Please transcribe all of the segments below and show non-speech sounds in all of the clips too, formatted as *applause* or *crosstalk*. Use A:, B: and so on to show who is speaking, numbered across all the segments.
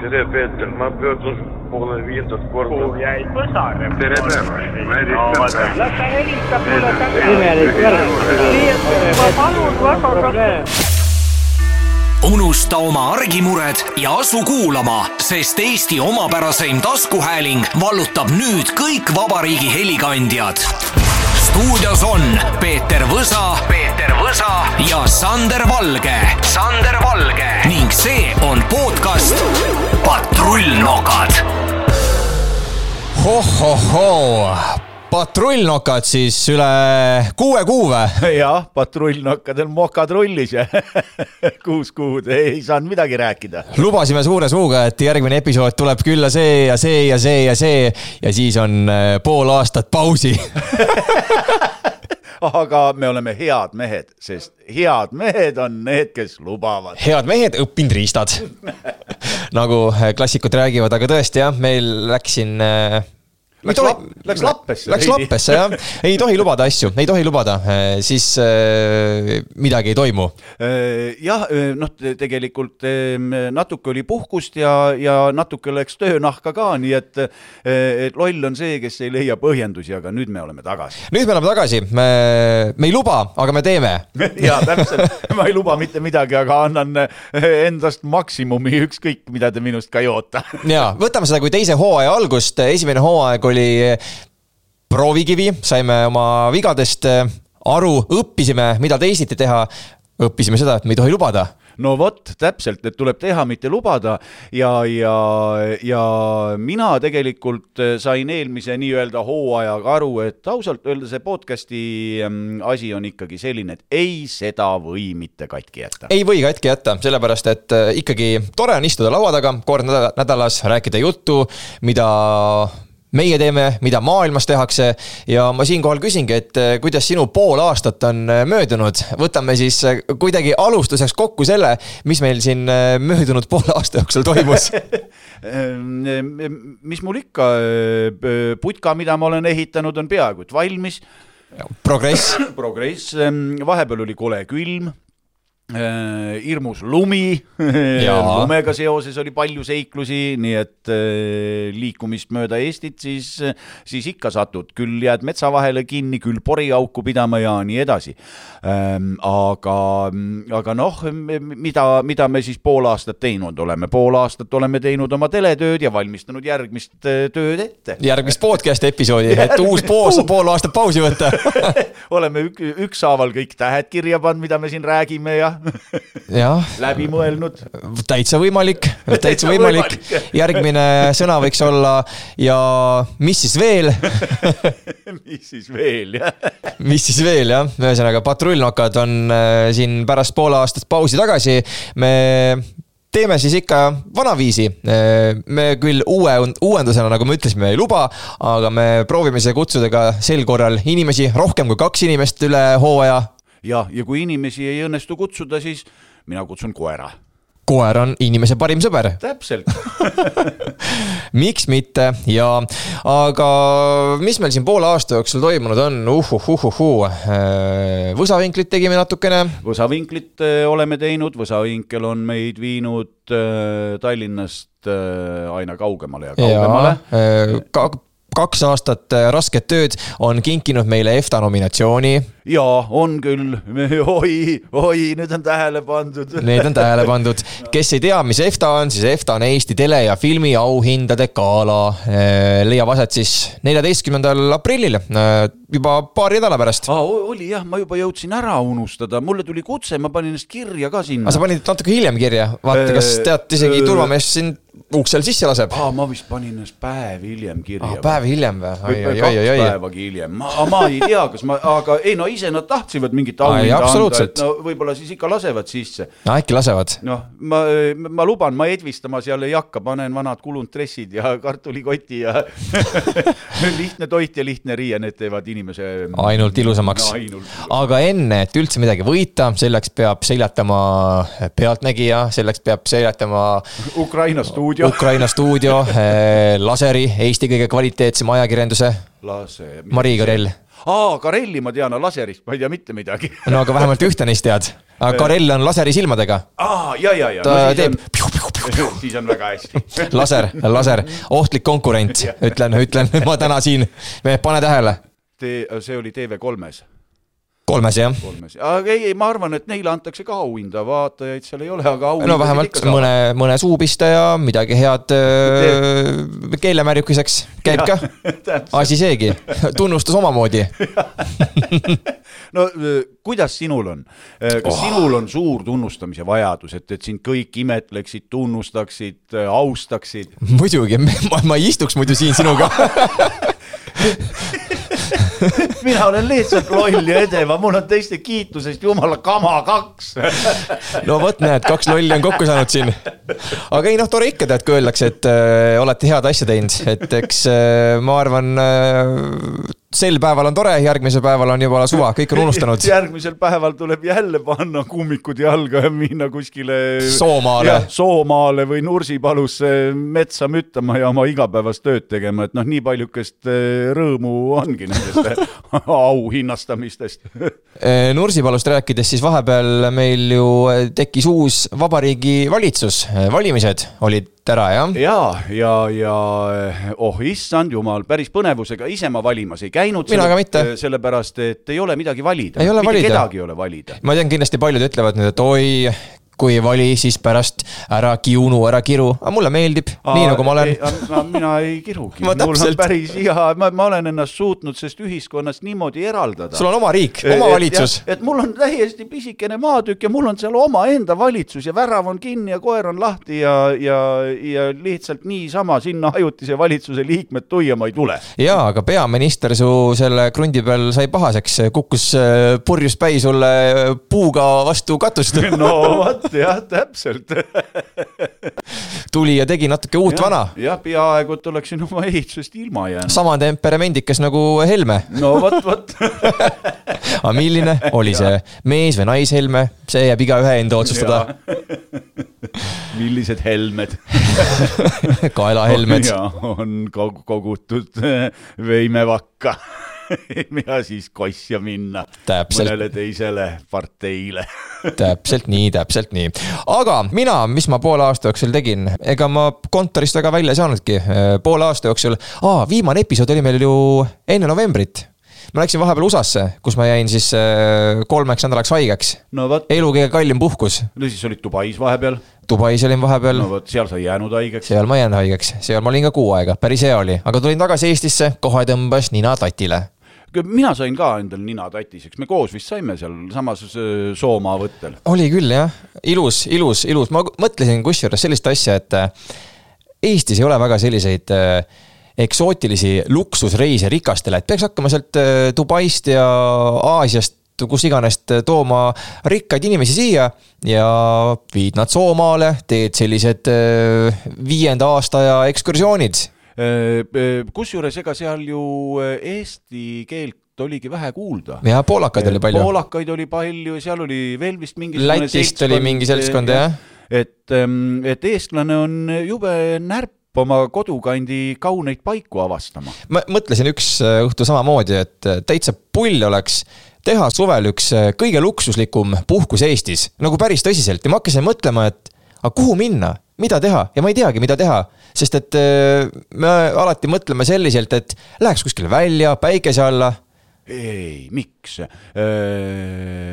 A: tere , Peeter , ma pöördun poole viiendat korda .
B: jäi põsarema .
C: tere päevast , Madis Sõber .
B: las ta helistab mulle tagasi .
D: imelik värv .
B: nii et ma palun vabandan .
E: unusta oma argimured ja asu kuulama , sest Eesti omapäraseim taskuhääling vallutab nüüd kõik vabariigi helikandjad . stuudios on Peeter Võsa , Peeter Võsa ja Sander Valge , Sander Valge ning see on podcast Patrullnokad
F: hohohoo , patrullnokad siis üle kuue kuu või ?
G: jah , patrullnokkadel mokad rullis ja *laughs* kuus kuud ei saanud midagi rääkida .
F: lubasime suure suuga , et järgmine episood tuleb külla see ja see ja see ja see ja siis on äh, pool aastat pausi .
G: aga me oleme head mehed , sest head mehed on need , kes lubavad .
F: *laughs* head mehed , õppinud riistad . *laughs* nagu klassikud räägivad , aga tõesti jah , meil läks siin .
G: Läks lap- läks lappesse
F: Läks
G: veidi.
F: lappesse jah , ei tohi lubada asju , ei tohi lubada , siis äh, midagi ei toimu .
G: jah , noh , tegelikult eh, natuke oli puhkust ja , ja natuke läks töönahka ka , nii et , et loll on see , kes ei leia põhjendusi , aga nüüd me oleme tagasi . *laughs*
F: nüüd me oleme tagasi , me , me ei luba , aga me teeme
G: ja täpselt , ma ei luba mitte midagi , aga annan eh, endast maksimumi , ükskõik mida te minust ka ei oota .
F: ja võtame seda kui teise hooaja algust , esimene hooaeg oli eh, proovikivi , saime oma vigadest eh, aru , õppisime , mida teisiti teha . õppisime seda , et me ei tohi lubada .
G: no vot , täpselt , et tuleb teha , mitte lubada ja , ja , ja mina tegelikult äh, sain eelmise nii-öelda hooajaga aru , et ausalt öeldes see podcast'i ähm, asi on ikkagi selline , et ei seda või mitte katki *laughs* jätta .
F: ei või katki jätta , sellepärast et eh, ikkagi tore on istuda laua taga kord näda- nädalas , rääkida juttu , mida meie teeme , mida maailmas tehakse ja ma siinkohal küsingi , et eh, kuidas sinu pool aastat on eh, möödunud , võtame siis eh, kuidagi alustuseks kokku selle , mis meil siin eh, möödunud poole aasta jooksul toimus
G: Ähm, mis mul ikka , putka , mida ma olen ehitanud , on peaaegu et valmis
F: progress .
G: progress , vahepeal oli kole külm , hirmus lumi , *laughs*
F: Jaa.
G: lumega seoses oli palju seiklusi , nii et eh, liikumist mööda Eestit , siis , siis ikka satud , küll jääd metsa vahele kinni , küll poriauku pidama ja nii edasi . aga , aga noh , mida , mida me siis pool aastat teinud oleme , pool aastat oleme teinud oma teletööd ja valmistanud järgmist eh, tööd ette .
F: järgmist podcast'i episoodi , et uus pool , pool aastat pausi võtta .
G: *laughs* oleme ük, ükshaaval kõik tähed kirja pannud , mida me siin räägime ja *laughs*
F: jah ,
G: läbi mõelnud .
F: täitsa võimalik , täitsa
G: Täitsa
F: võimalik
G: võimalik. .
F: järgmine sõna võiks olla ja mis siis veel ,
G: *laughs* mis siis veel , jah ?
F: mis siis veel jah , ühesõnaga patrullnokad on äh, siin pärast poole aastat pausi tagasi . me teeme siis ikka vanaviisi . me küll uue , uuendusena , nagu me ütlesime , ei luba , aga me proovime siia kutsuda ka sel korral inimesi , rohkem kui kaks inimest üle hooaja
G: jah , ja kui inimesi ei õnnestu kutsuda , siis mina kutsun koera .
F: koer on inimese parim sõber ,
G: täpselt .
F: miks mitte ja , aga mis meil siin poole aasta jooksul toimunud on , uhuhuhuhuu . võsavinklit tegime natukene ,
G: *laughs* võsavinklit eh, oleme teinud , võsavinkel on meid viinud eh, Tallinnast eh, aina kaugemale ja kaugemale .
F: ja äh, kaks aastat äh, rasket tööd on kinkinud meile EFTA nominatsiooni ,
G: ja on küll , *laughs* oi , oi , nüüd on tähele pandud .
F: need on tähele pandud . kes ei tea , mis EFTA on , siis EFTA on Eesti tele- ja filmiauhindade gala . leiab aset siis neljateistkümnendal aprillil , juba paari nädala pärast .
G: aa , oli jah , ma juba jõudsin ära unustada , mulle tuli kutse , ma panin ennast kirja ka sinna
F: aga sa . panid natuke hiljem kirja , vaata , kas
G: Äh,
F: tead , isegi
G: äh, Ah,
F: turvamees sind uksel sisse laseb .
G: aa , ma vist panin ennast päev hiljem kirja
F: ah, . päev hiljem või ?
G: või või
F: oi , oi ,
G: kaks
F: oi , oi ,
G: päevagi hiljem , ma , ma ei tea , kas ma , aga ei no ise nad tahtsid mingit
F: Aa, ei,
G: auhinda anda ,
F: absoluutselt.
G: et no võib-olla siis ikka lasevad sisse .
F: no äkki lasevad ?
G: noh , ma , ma luban , ma edvistama seal ei hakka , panen vanad kulunud dressid ja *laughs* kartulikoti ja *laughs* lihtne toit ja lihtne riie , need teevad inimese .
F: ainult ilusamaks
G: Ainult. .
F: aga enne , et üldse midagi võita , selleks peab seljatama Pealtnägija , selleks peab seljatama
G: Ukraina stuudio .
F: Ukraina
G: *laughs*
F: stuudio , laseri , Eesti kõige kvaliteetsema ajakirjanduse ,
G: lase .
F: Mari Karell .
G: aa , Karelli ma tean , laserist ma ei tea mitte midagi . Äh.
F: no aga vähemalt ühte neist tead . aga Karell on laseri silmadega .
G: aa , ja , ja , ja .
F: ta teeb .
G: siis on *laughs* väga hästi .
F: laser , laser , ohtlik konkurent , ütlen , ütlen ma täna siin , pane tähele ,
G: see oli TV3-s ,
F: kolmes jah .
G: kolmes , aga ei , ei , ma arvan , et neile antakse ka auhinda , vaatajaid seal ei ole , aga auhinda
F: no vähemalt
G: *laughs*
F: mõne , mõne suupistaja , midagi head öö, keelemärjukiseks käib ka , asi seegi , tunnustus omamoodi .
G: no öö, kuidas sinul on ? kas oh. sinul on suur tunnustamise vajadus , et , et sind kõik imetleksid , tunnustaksid , austaksid ? *laughs*
F: muidugi , ma, ma ei istuks muidu siin sinuga .
G: mina olen lihtsalt loll ja edeva , mul on teiste kiitusest jumala kama kaks . *laughs*
F: no vot , näed , kaks lolli on kokku saanud siin . aga ei noh , tore ikka tead , kui öeldakse , et öö, olete head asja teinud , et eks öö, ma arvan , sel päeval on tore , järgmisel päeval on juba suva , kõik on unustanud .
G: *laughs* järgmisel päeval tuleb jälle panna kummikud jalga ja minna kuskile .
F: Soomaale.
G: Soomaale või Nursipalusse metsa müttama ja oma igapäevast tööd tegema , et noh , nii paljukest eh, rõõmu ongi nendest *laughs* auhinnastamistest . *laughs*
F: Eh, Nursipalust rääkides , siis vahepeal meil ju äh, tekkis uus vabariigi valitsus , valimised olid ära jah ?
G: ja , ja , ja oh issand jumal , päris põnevusega ise ma valimas ei käinud .
F: Mina ka mitte.
G: sellepärast , et ei ole midagi valida .
F: Ei ole valida.
G: kedagi ei ole valida .
F: ma tean , kindlasti paljud ütlevad nüüd , et oi , kui ei vali , siis pärast ära kiunu , ära kiru , aga mulle meeldib , nii nagu ma olen .
G: olen . mina ei kirugi ,
F: Ma
G: mul on
F: täpselt.
G: päris hea , ma , ma olen ennast suutnud sellest ühiskonnast niimoodi eraldada .
F: sul on oma riik , oma valitsus .
G: et mul on täiesti pisikene maatükk ja mul on seal omaenda valitsus ja värav on kinni ja koer on lahti ja , ja , ja lihtsalt niisama sinna ajutise valitsuse liikmed tuiama ei tule . *laughs*
F: jaa , aga peaminister su selle krundi peal sai pahaseks , kukkus eh, purjus päi sulle äh, puuga vastu katust ,
G: *laughs* no vot jah , täpselt .
F: tuli ja tegi natuke uut vana ,
G: jah , peaaegu et oleksin oma ehitusest ilma jäänud .
F: sama temperamendikas nagu Helme
G: no vot , vot *laughs*
F: aga milline oli see mees või naishelme , see jääb igaühe enda otsustada .
G: millised helmed .
F: kaelahelmed ,
G: ja on kogu- kogutud *laughs* veimevakka ja siis kosja minna
F: Täpselt.
G: mõnele teisele parteile . *laughs*
F: täpselt nii , täpselt nii . aga mina , mis ma poole aasta jooksul tegin , ega ma kontorist väga välja ei saanudki poole aasta jooksul . aa , viimane episood oli meil ju enne novembrit . ma läksin vahepeal USA-sse , kus ma jäin siis eh, kolmeks nädalaks haigeks .
G: no vot ,
F: elu kõige kallim puhkus .
G: no siis olid Dubais vahepeal ,
F: Dubais olin vahepeal
G: no vot seal sai jäänud haigeks .
F: seal ma ei jäänud haigeks , seal ma olin ka kuu aega , päris hea oli , aga tulin tagasi Eestisse , kohe tõmbas nina tatile
G: mina sain ka endal nina tatis , eks me koos vist saime sealsamas äh, Soomaa võttel .
F: oli küll jah , ilus , ilus , ilus , ma mõtlesin kusjuures sellist asja , et äh, Eestis ei ole väga selliseid äh, eksootilisi luksusreise rikastele , et peaks hakkama sealt äh, Dubaist ja Aasiast kus iganes äh, tooma rikkaid inimesi siia ja viid nad Soomaale , teed sellised äh, viienda aastaaja ekskursioonid .
G: Äh, kusjuures ega seal ju äh, eesti keelt oligi vähe kuulda .
F: ja poolakaid
G: Äh,
F: oli palju .
G: poolakaid oli palju ja seal oli veel vist mingi .
F: Lätist oli mingi seltskond, jah. .
G: et , et eestlane on jube närp oma kodukandi kauneid paiku avastama .
F: ma mõtlesin üks äh, õhtu samamoodi , et äh, täitsa pull oleks teha suvel üks äh, kõige luksuslikum puhkus Eestis , nagu päris tõsiselt ja ma hakkasin mõtlema , et aga kuhu minna , mida teha ja ma ei teagi , mida teha , sest et äh, me alati mõtleme selliselt , et läheks kuskile välja päikese alla ,
G: ei , miks ?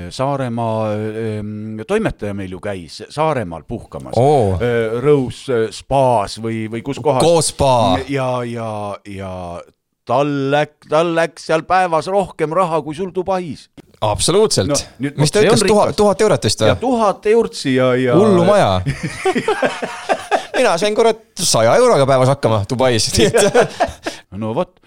G: Saaremaa öö, toimetaja meil ju käis Saaremaal puhkamas
F: Oo. .
G: Rõus öö, spaas või , või kus kohas .
F: Koos spa.
G: ja , ja , ja tal läks , tal läks seal päevas rohkem raha kui sul Dubais .
F: absoluutselt
G: No,
F: no,
G: nüüd- .
F: mis ta
G: see on
F: ütles , tuhat ,
G: rikas.
F: tuhat eurot vist
G: ja
F: või ?
G: tuhat eurtsi ja , ja .
F: hullu .
G: *laughs*
F: maja . mina sain kurat saja euroga päevas hakkama
G: *laughs*
F: Dubais , nii et *laughs*
G: no vot ,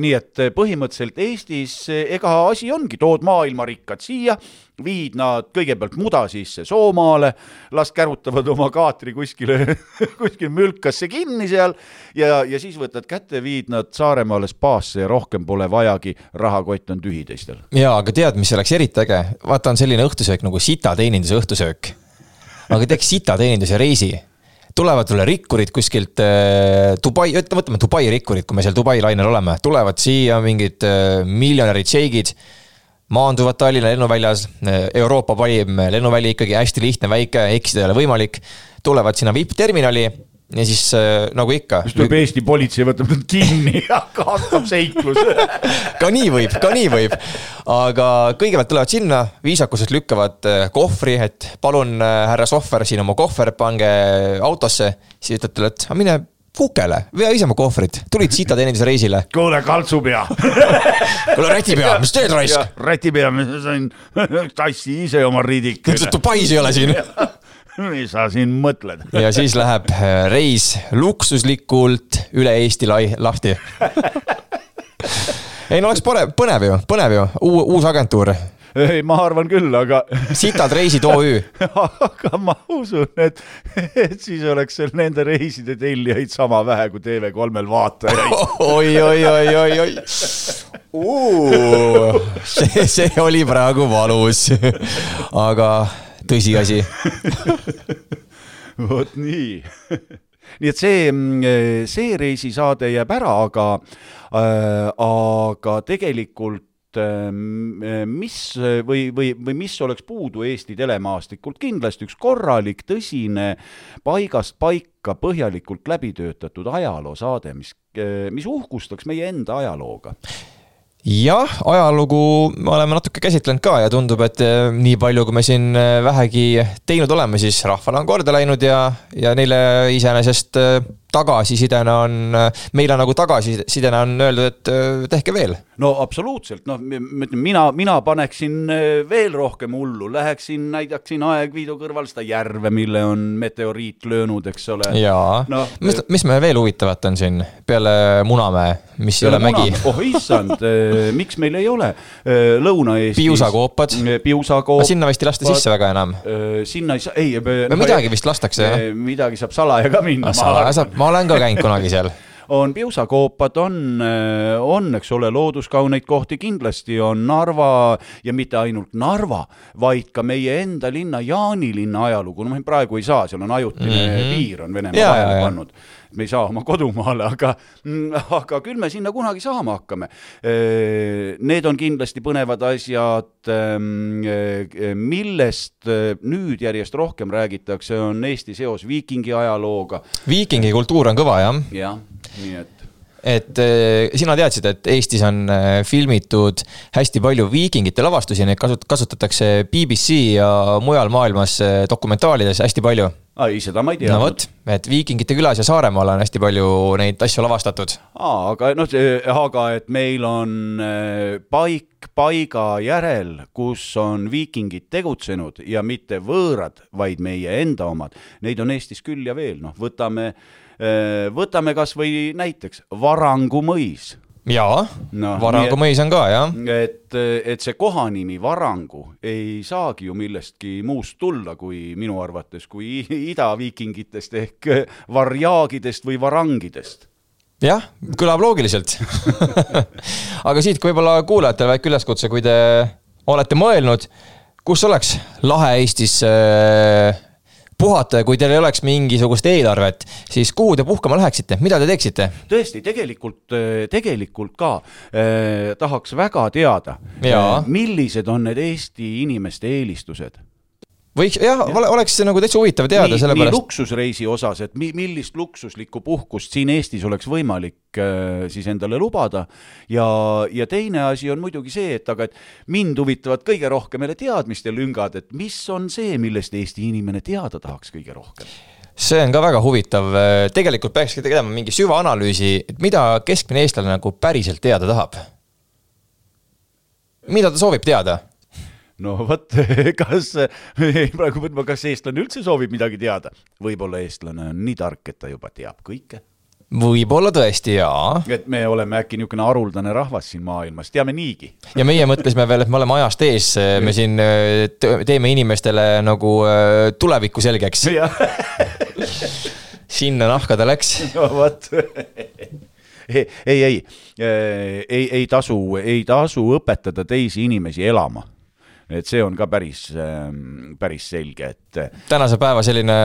G: nii et eh, põhimõtteliselt Eestis eh, ega asi ongi , tood maailmarikkad siia , viid nad kõigepealt muda sisse Soomaale , las kärutavad oma kaatri kuskile , *laughs* kuskil mülkasse kinni seal ja , ja siis võtad kätte , viid nad Saaremaale spaasse ja rohkem pole vajagi , rahakott on tühi teistel .
F: jaa , aga tead , mis oleks eriti äge ? vaata , on selline õhtusöök nagu sitateeninduse õhtusöök . aga teeks sitateeninduse reisi . tulevad sulle rikkurid kuskilt äh, Dubai , võtame Dubai rikkurid , kui me seal Dubai lainel oleme , tulevad siia mingid äh, miljonärid , šeigid maanduvad äh, Tallinna lennuväljas , Euroopa parim lennuväli ikkagi hästi lihtne , väike , eksida ei ole võimalik . tulevad sinna vippterminali ja siis äh, nagu ikka .
G: siis tuleb Eesti politsei , võtab nad kinni *laughs* ja hakkab seiklus .
F: ka nii võib , ka nii võib . aga kõigepealt tulevad sinna , viisakuselt lükkavad äh, kohvri , et palun , härra sohver , siin oma kohver , pange autosse . siis ütled talle , et aga mine kukele , vea ise oma kohvrit , tulid sita teenindusreisile .
G: *laughs* kuule , *laughs* kaltsupea .
F: kuule , rätipea , mis teed raisk ?
G: rätipea , ma sain , *laughs* tassi ise oma riidikule *laughs*
F: ütles , et Dubais ei ole siin .
G: mis sa siin mõtled ?
F: ja siis läheb äh, reis luksuslikult üle Eesti lai- , lahti . ei no oleks pore- , põnev ju , põnev ju , uus agentuur ,
G: ei , ma arvan küll , aga , *laughs*
F: sitad reisid OÜ
G: aga ma usun , et , et siis oleks seal nende reiside tellijaid sama vähe kui TV3-l vaatajaid .
F: oi , oi , oi , oi , oi . *laughs* see , see oli praegu valus . aga tõsiasi ,
G: *laughs* vot nii . nii et see , see reisisaade jääb ära , aga äh, , aga tegelikult äh, mis või , või , või mis oleks puudu Eesti telemaastikult , kindlasti üks korralik , tõsine , paigast paika põhjalikult läbi töötatud ajaloosaade , mis , mis uhkustaks meie enda ajalooga .
F: jah , ajalugu me oleme natuke käsitlenud ka ja tundub , et eh, nii palju , kui me siin eh, vähegi teinud oleme , siis rahvale on korda läinud ja , ja neile iseenesest eh, tagasisidena on , meile nagu tagasisidena on öeldud , et eh, tehke veel .
G: no absoluutselt , noh , ma ütlen , mina , mina paneksin äh, veel rohkem hullu , läheksin , näidaksin Aegviidu kõrval seda järve , mille on meteoriit löönud , eks ole .
F: jaa no,
G: Noh, ,
F: mis , mis meil veel huvitavat on siin peale Munamäe , mis ei ole mägi ?
G: oh issand , miks meil ei ole Äh, Lõuna-Eestis .
F: Piusakoopad.
G: piusakoopad .
F: Aga sinna vist ei lasta sisse väga enam. .
G: sinna ei saa , ei .
F: No midagi vist lastakse, jah. . Ah,
G: midagi saab salaja ka minna .
F: ma olen ka käinud kunagi seal .
G: on piusakoopad , on , on , eks ole , looduskauneid kohti kindlasti on Narva ja mitte ainult Narva , vaid ka meie enda linna , Jaanilinna ajalugu , noh , praegu ei saa , seal on ajutine mm -hmm. piir on Venemaa
F: Mhm. Jaa, jaa,
G: vahele
F: jaa.
G: pannud . me ei saa oma kodumaale , aga , aga küll me sinna kunagi saama hakkame . Need on kindlasti põnevad asjad , millest äh, nüüd järjest rohkem räägitakse , on Eesti seos viikingi ajalooga ,
F: viikingi kultuur on kõva jah ,
G: jah , nii et
F: et eh, sina teadsid , et Eestis on eh, filmitud hästi palju viikingite lavastusi , neid kasut- , kasutatakse BBC ja mujal maailmas eh, dokumentaalides hästi palju .
G: aa , ei seda ma ei
F: no
G: teadnud
F: vot , et viikingite külas ja Saaremaal on hästi palju neid asju lavastatud .
G: aa , aga noh , aga et meil on äh, paik paiga järel , kus on viikingid tegutsenud ja mitte võõrad , vaid meie enda omad , neid on Eestis küll ja veel , noh , võtame , võtame kas või näiteks Varangu mõis
F: jaa no,
G: Noh, ,
F: Varangu
G: nii-
F: mõis on ka jah ,
G: et , et see kohanimi Varangu ei saagi ju millestki muust tulla , kui minu arvates , kui idaviikingitest ehk varjaagidest või varangidest .
F: jah , kõlab loogiliselt . *laughs* aga siit ka võib-olla kuulajatele väike üleskutse , kui te olete mõelnud , kus oleks lahe Eestis äh, puhata ja kui teil ei oleks mingisugust eelarvet , siis kuhu te puhkama läheksite , mida te teeksite ?
G: tõesti , tegelikult , tegelikult ka eh, tahaks väga teada eh,
F: Jaa. ,
G: millised on need Eesti inimeste eelistused .
F: võiks , jah , oleks see nagu täitsa huvitav teada ,
G: nii, nii
F: sellepärast .
G: luksusreisi osas , et mi, millist luksuslikku puhkust siin Eestis oleks võimalik eh, siis endale lubada ja , ja teine asi on muidugi see , et aga et mind huvitavad kõige rohkem jälle teadmiste lüngad , et mis on see , millest Eesti inimene teada tahaks kõige rohkem .
F: see on ka väga huvitav , tegelikult peakski tegema mingi süvaanalüüsi , et mida keskmine eestlane nagu päriselt teada tahab . mida ta soovib teada ?
G: no vot , *laughs* kas , praegu mõtlen , kas eestlane üldse soovib midagi teada ? võib-olla eestlane on nii tark , et ta juba teab kõike .
F: võib-olla tõesti jaa
G: et me oleme äkki niisugune haruldane rahvas siin maailmas , teame niigi . *laughs*
F: ja meie mõtlesime veel , et me oleme ajast ees , me siin öö, tö- teeme inimestele nagu öö, tulevikku selgeks ,
G: jah ,
F: sinna nahka ta läks .
G: no vot . ei , ei , ei , ei , ei tasu , ei tasu õpetada teisi inimesi elama . et see on ka päris , päris selge , et eh,
F: tänase päeva selline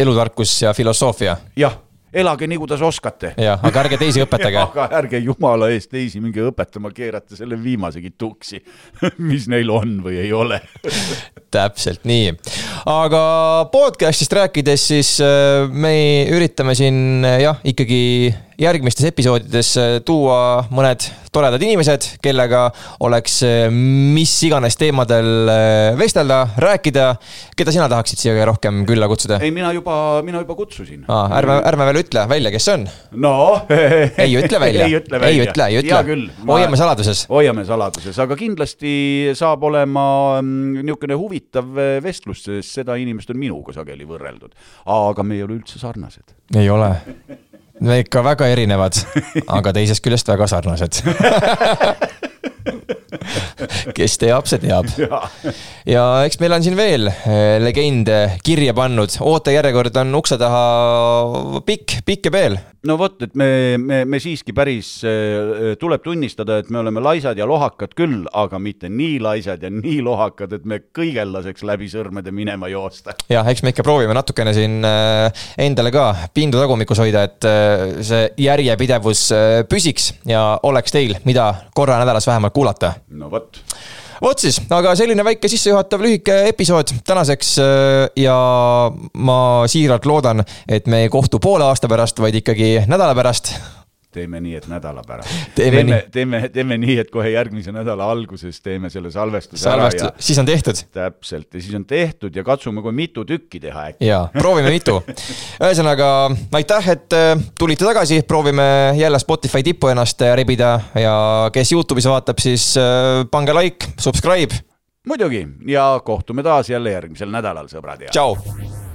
F: elutarkus ja filosoofia .
G: jah , elage nii , kuidas oskate .
F: jah , aga ärge teisi
G: *laughs*
F: õpetage .
G: aga ärge jumala eest teisi minge õpetama , keerate selle viimasegi tuksi , *laughs* mis neil on või ei ole .
F: täpselt nii , aga podcast'ist rääkides , siis äh, me üritame siin äh, jah , ikkagi järgmistes episoodides äh, tuua mõned toredad inimesed , kellega oleks äh, mis iganes teemadel äh, vestelda , rääkida . keda sina tahaksid siia rohkem külla kutsuda ?
G: ei , mina juba , mina juba kutsusin .
F: Ah, ärme , ärme veel ütle välja , kes see on .
G: no .
F: ei
G: *laughs*
F: ütle välja ,
G: ei ütle välja .
F: ei ütle , ei
G: hea küll
F: ütle ., hoiame saladuses .
G: hoiame saladuses , aga kindlasti saab olema mm, niisugune huvitav eh, vestlus , sest seda inimest on minuga sageli võrreldud . aga me ei ole üldse
F: *laughs*
G: sarnased .
F: ei ole . me ikka väga erinevad , aga teisest küljest väga sarnased . kes teab , see teab . ja eks meil on siin veel eh, legende kirja pannud , ootejärjekord on ukse taha pikk , pikk ja peel .
G: no vot , et me , me , me siiski päris , tuleb tunnistada , et me oleme laisad ja lohakad küll , aga mitte nii laisad ja nii lohakad , et me kõigel laseks läbi sõrmede minema joosta .
F: jah , eks me ikka proovime natukene siin eh, endale ka pindu tagumikus hoida , et eh, see järjepidevus eh, püsiks ja oleks teil , mida korra nädalas vähemalt kuulata
G: no vot ,
F: vot siis , aga selline väike sissejuhatav lühike episood tänaseks äh, ja ma siiralt loodan , et me ei kohtu poole aasta pärast , vaid ikkagi nädala pärast .
G: teeme nii , et nädala pärast .
F: Teeme
G: teeme
F: nii. ,
G: teeme, teeme nii , et kohe järgmise nädala alguses teeme selle salvestuse
F: salvest
G: ära , ja
F: siis on tehtud
G: täpselt ja siis on tehtud ja katsume kohe mitu tükki teha äkki .
F: ja proovime mitu . ühesõnaga aitäh , et äh, tulite tagasi , proovime jälle Spotify tippu ennast äh, rebida ja kes Youtube'is vaatab , siis äh, pange like , subscribe ,
G: muidugi ja kohtume taas jälle järgmisel nädalal , sõbrad ja .
F: tšau .